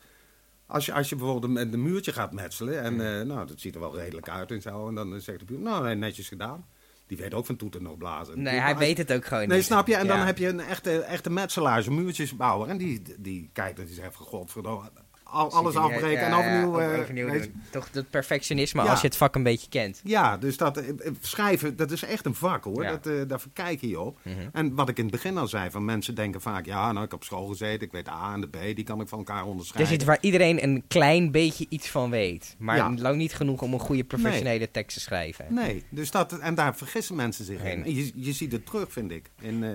Speaker 2: Als je, als je bijvoorbeeld een, een muurtje gaat metselen
Speaker 1: Mhm.
Speaker 2: en eh, nou, dat ziet er wel redelijk uit en zo. En dan eh, zegt de buur, nou nee, netjes gedaan. Die weet ook van toeten nog blazen.
Speaker 1: Nee,
Speaker 2: Maar
Speaker 1: hij
Speaker 2: als-
Speaker 1: weet het ook gewoon
Speaker 2: Nee,
Speaker 1: niet.
Speaker 2: snap je? En dan
Speaker 1: Ja.
Speaker 2: heb je een echte, echte metselaar, een muurtjesbouwer. En die, die kijkt en die zegt van godverdomme, al, alles
Speaker 1: Ziet er niet
Speaker 2: afbreken
Speaker 1: uit.
Speaker 2: en
Speaker 1: Ja, ja,
Speaker 2: overnieuw.
Speaker 1: ja,
Speaker 2: eh,
Speaker 1: overnieuw
Speaker 2: weet je.
Speaker 1: doen. Toch dat perfectionisme
Speaker 2: Ja.
Speaker 1: als je het vak een beetje kent.
Speaker 2: Ja, dus dat eh, eh, schrijven, dat is echt een vak hoor.
Speaker 1: Ja. Mhm.
Speaker 2: Dat, eh, daar verkijk je je op. En wat ik in het begin al zei, van mensen denken vaak, ja, nou ik heb op school gezeten, ik weet de A en de B, die kan ik van elkaar
Speaker 1: Het is
Speaker 2: onderscheiden.
Speaker 1: iets waar iedereen een klein beetje iets van weet. Maar
Speaker 2: Ja.
Speaker 1: lang niet genoeg om een goede professionele tekst te schrijven.
Speaker 2: Nee, dus dat, en daar vergissen mensen zich in.
Speaker 1: Nee.
Speaker 2: En Je, je ziet het terug, vind ik. In, eh,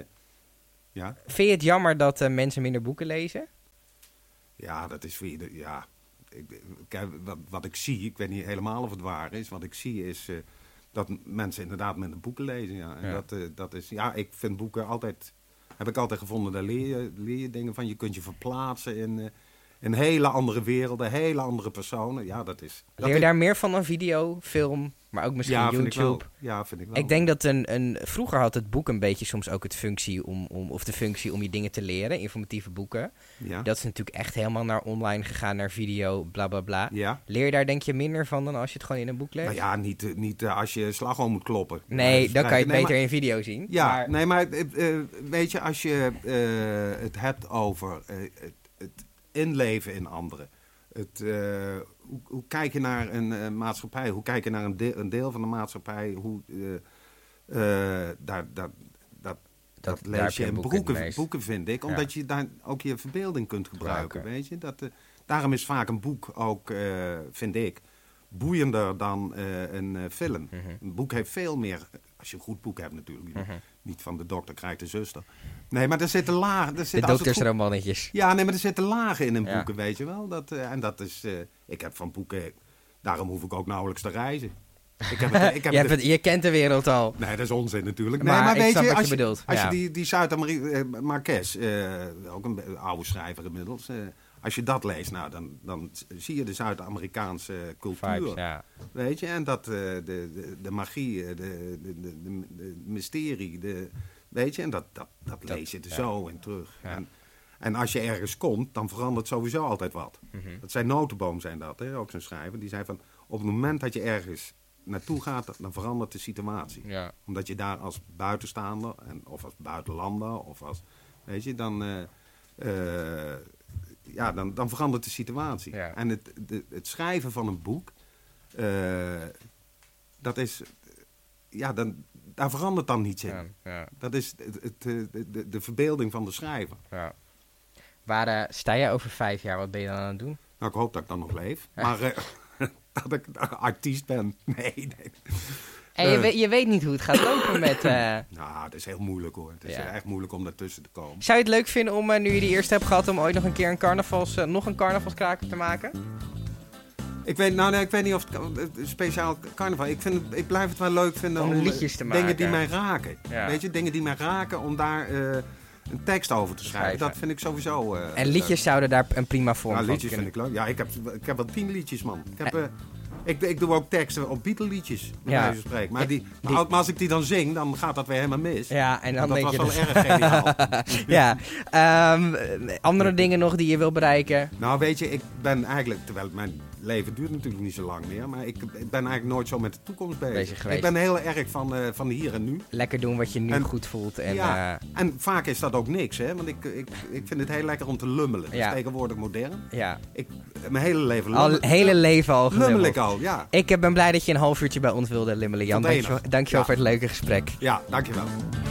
Speaker 2: ja?
Speaker 1: Vind je het jammer dat eh, mensen minder boeken lezen?
Speaker 2: ja, dat is voor ieder- ja. Ik, kijk, wat, wat ik zie, ik weet niet helemaal of het waar is, wat ik zie is eh, dat m- mensen inderdaad minder boeken lezen. Ja. En
Speaker 1: Ja.
Speaker 2: Dat, eh, dat is, ja, ik vind boeken altijd, heb ik altijd gevonden, daar leer je, leer je dingen van. Je kunt je verplaatsen in, eh, in hele andere werelden, hele andere personen. Ja, dat is... dat
Speaker 1: Leer je
Speaker 2: is-
Speaker 1: daar meer van dan video, film, maar ook misschien
Speaker 2: ja, Vind ik wel.
Speaker 1: YouTube?
Speaker 2: Ja, vind ik wel.
Speaker 1: Ik denk dat een, een. Vroeger had het boek een beetje soms ook het functie om, om. Of de functie om je dingen te leren, informatieve boeken.
Speaker 2: Ja.
Speaker 1: Dat is natuurlijk echt helemaal naar online gegaan, naar video, bla bla bla.
Speaker 2: ja.
Speaker 1: Leer je daar denk je minder van dan als je het gewoon in een boek leest?
Speaker 2: Nou ja, niet, eh, niet eh, als je slagroom moet kloppen.
Speaker 1: Nee,
Speaker 2: Maar-
Speaker 1: dan kan je het
Speaker 2: Nee, maar-
Speaker 1: beter in video zien.
Speaker 2: Ja,
Speaker 1: maar,
Speaker 2: nee, maar eh, eh, weet je, als je eh, het hebt over eh, het, het inleven in anderen. Het, eh, hoe, hoe kijk je naar een eh, maatschappij? Hoe kijk je naar een, de- een deel van de maatschappij? Hoe, eh, eh, daar, daar, dat, dat,
Speaker 1: daar heb
Speaker 2: lees je
Speaker 1: een
Speaker 2: in
Speaker 1: boek in
Speaker 2: boeken,
Speaker 1: leest.
Speaker 2: boeken, vind ik.
Speaker 1: Ja.
Speaker 2: Omdat je daar ook je verbeelding kunt gebruiken,
Speaker 1: Gebruiken.
Speaker 2: weet je. Dat, eh, daarom is vaak een boek ook, eh, vind ik, boeiender dan eh, een eh,
Speaker 1: Mhm.
Speaker 2: film. Een boek heeft veel meer, als je een goed boek hebt natuurlijk.
Speaker 1: Mhm.
Speaker 2: Niet van de dokter krijgt de zuster. Nee, maar er zitten lagen. Er
Speaker 1: de
Speaker 2: zitten, als het goed-
Speaker 1: doktersromannetjes.
Speaker 2: ja, nee, maar er zitten lagen in een
Speaker 1: Ja.
Speaker 2: boeken, weet je wel. Dat, eh, en dat is, eh, ik heb van boeken, daarom hoef ik ook nauwelijks te reizen. Ik heb het, ik heb
Speaker 1: je,
Speaker 2: de-
Speaker 1: hebt het- je kent de wereld al.
Speaker 2: Nee, dat is onzin natuurlijk.
Speaker 1: Maar
Speaker 2: nee, maar
Speaker 1: ik
Speaker 2: weet
Speaker 1: snap
Speaker 2: je,
Speaker 1: wat
Speaker 2: als
Speaker 1: je bedoelt,
Speaker 2: Als
Speaker 1: ja.
Speaker 2: je die, die Zuid-Marques, eh, ook een be- oude schrijver inmiddels, eh, als je dat leest, nou, dan, dan zie je de Zuid-Amerikaanse cultuur.
Speaker 1: Vibes, ja.
Speaker 2: Weet je, en dat eh, de, de, de magie, eh, de, de, de, de, de mysterie, de, weet je, en dat, dat, dat, lees je er zo in terug. En, en als je ergens komt, dan verandert sowieso altijd wat.
Speaker 1: Mhm.
Speaker 2: Dat zijn notenboom zijn dat, hè, ook zo'n schrijver. Die zei van, op het moment dat je ergens naartoe gaat, dan verandert de situatie.
Speaker 1: Ja.
Speaker 2: Omdat je daar als buitenstaander, en, of als buitenlander, of als, weet je, dan... eh, eh, ja, dan, dan verandert de situatie.
Speaker 1: Ja.
Speaker 2: En het, de- het schrijven van een boek, eh, dat is, ja, dan, daar verandert dan niets in.
Speaker 1: Ja, ja,
Speaker 2: Dat is het, het, eh, de, de verbeelding van de schrijver.
Speaker 1: ja. Waar eh, sta jij over vijf jaar? Wat ben je dan aan het doen?
Speaker 2: Nou, ik hoop dat ik dan nog leef. Maar eh, dat ik een artiest ben. Nee, nee.
Speaker 1: En je,
Speaker 2: Eh.
Speaker 1: weet, je weet niet hoe het gaat lopen met. eh,
Speaker 2: Nou, het is heel moeilijk hoor. Het is
Speaker 1: Ja.
Speaker 2: echt moeilijk om daartussen te komen.
Speaker 1: Zou je het leuk vinden om, eh, nu je die eerste hebt gehad, om ooit nog een keer een carnavals, eh, nog een carnavalskraker te maken?
Speaker 2: Ik weet, nou, nee, ik weet niet of het kan- eh, speciaal carnaval. Ik, vind het, ik blijf het wel leuk vinden
Speaker 1: Om
Speaker 2: eh,
Speaker 1: liedjes te
Speaker 2: Dingen die mij
Speaker 1: maken.
Speaker 2: raken.
Speaker 1: Ja.
Speaker 2: Weet je, dingen die mij raken om daar eh, een tekst over te schrijven.
Speaker 1: Schrijven.
Speaker 2: Dat vind ik sowieso. eh,
Speaker 1: En liedjes zouden daar een prima vorm
Speaker 2: Ja,
Speaker 1: van
Speaker 2: liedjes
Speaker 1: kunnen.
Speaker 2: vind ik leuk. Ja, ik heb, ik heb wel tien liedjes, man. Ik, heb, eh, ik, ik doe ook teksten op Beatle-liedjes, bij
Speaker 1: Ja.
Speaker 2: wijze van spreken. Maar, die, maar,
Speaker 1: die-
Speaker 2: ook- maar als ik die dan zing, dan gaat dat weer helemaal mis.
Speaker 1: Ja, en dan
Speaker 2: Want dat
Speaker 1: denk
Speaker 2: was
Speaker 1: je...
Speaker 2: wel
Speaker 1: dus-
Speaker 2: erg geniaal.
Speaker 1: ja. Ehm, eh, andere dingen nog die je wil bereiken?
Speaker 2: nou, weet je, ik ben eigenlijk... Terwijl mijn leven duurt natuurlijk niet zo lang meer. Maar ik, ik ben eigenlijk nooit zo met de toekomst bezig.
Speaker 1: Bezig geweest.
Speaker 2: ik ben heel erg van, eh, van hier en nu.
Speaker 1: Lekker doen wat je nu
Speaker 2: En-
Speaker 1: goed voelt. En,
Speaker 2: ja.
Speaker 1: eh,
Speaker 2: en vaak is dat ook niks, hè. Want ik, ik, ik vind het heel lekker om te lummelen. Dat
Speaker 1: Ja.
Speaker 2: is tegenwoordig modern.
Speaker 1: ja.
Speaker 2: Ik, mijn hele leven
Speaker 1: Al
Speaker 2: lummel-
Speaker 1: hele leven al
Speaker 2: lummel
Speaker 1: gelummeld.
Speaker 2: ik al, ja.
Speaker 1: Ik eh, ben blij dat je een half uurtje bij ons wilde limmelen, Jan.
Speaker 2: Tot enig.
Speaker 1: Dankjewel, dankjewel
Speaker 2: Ja.
Speaker 1: voor het leuke gesprek.
Speaker 2: Ja, dankjewel.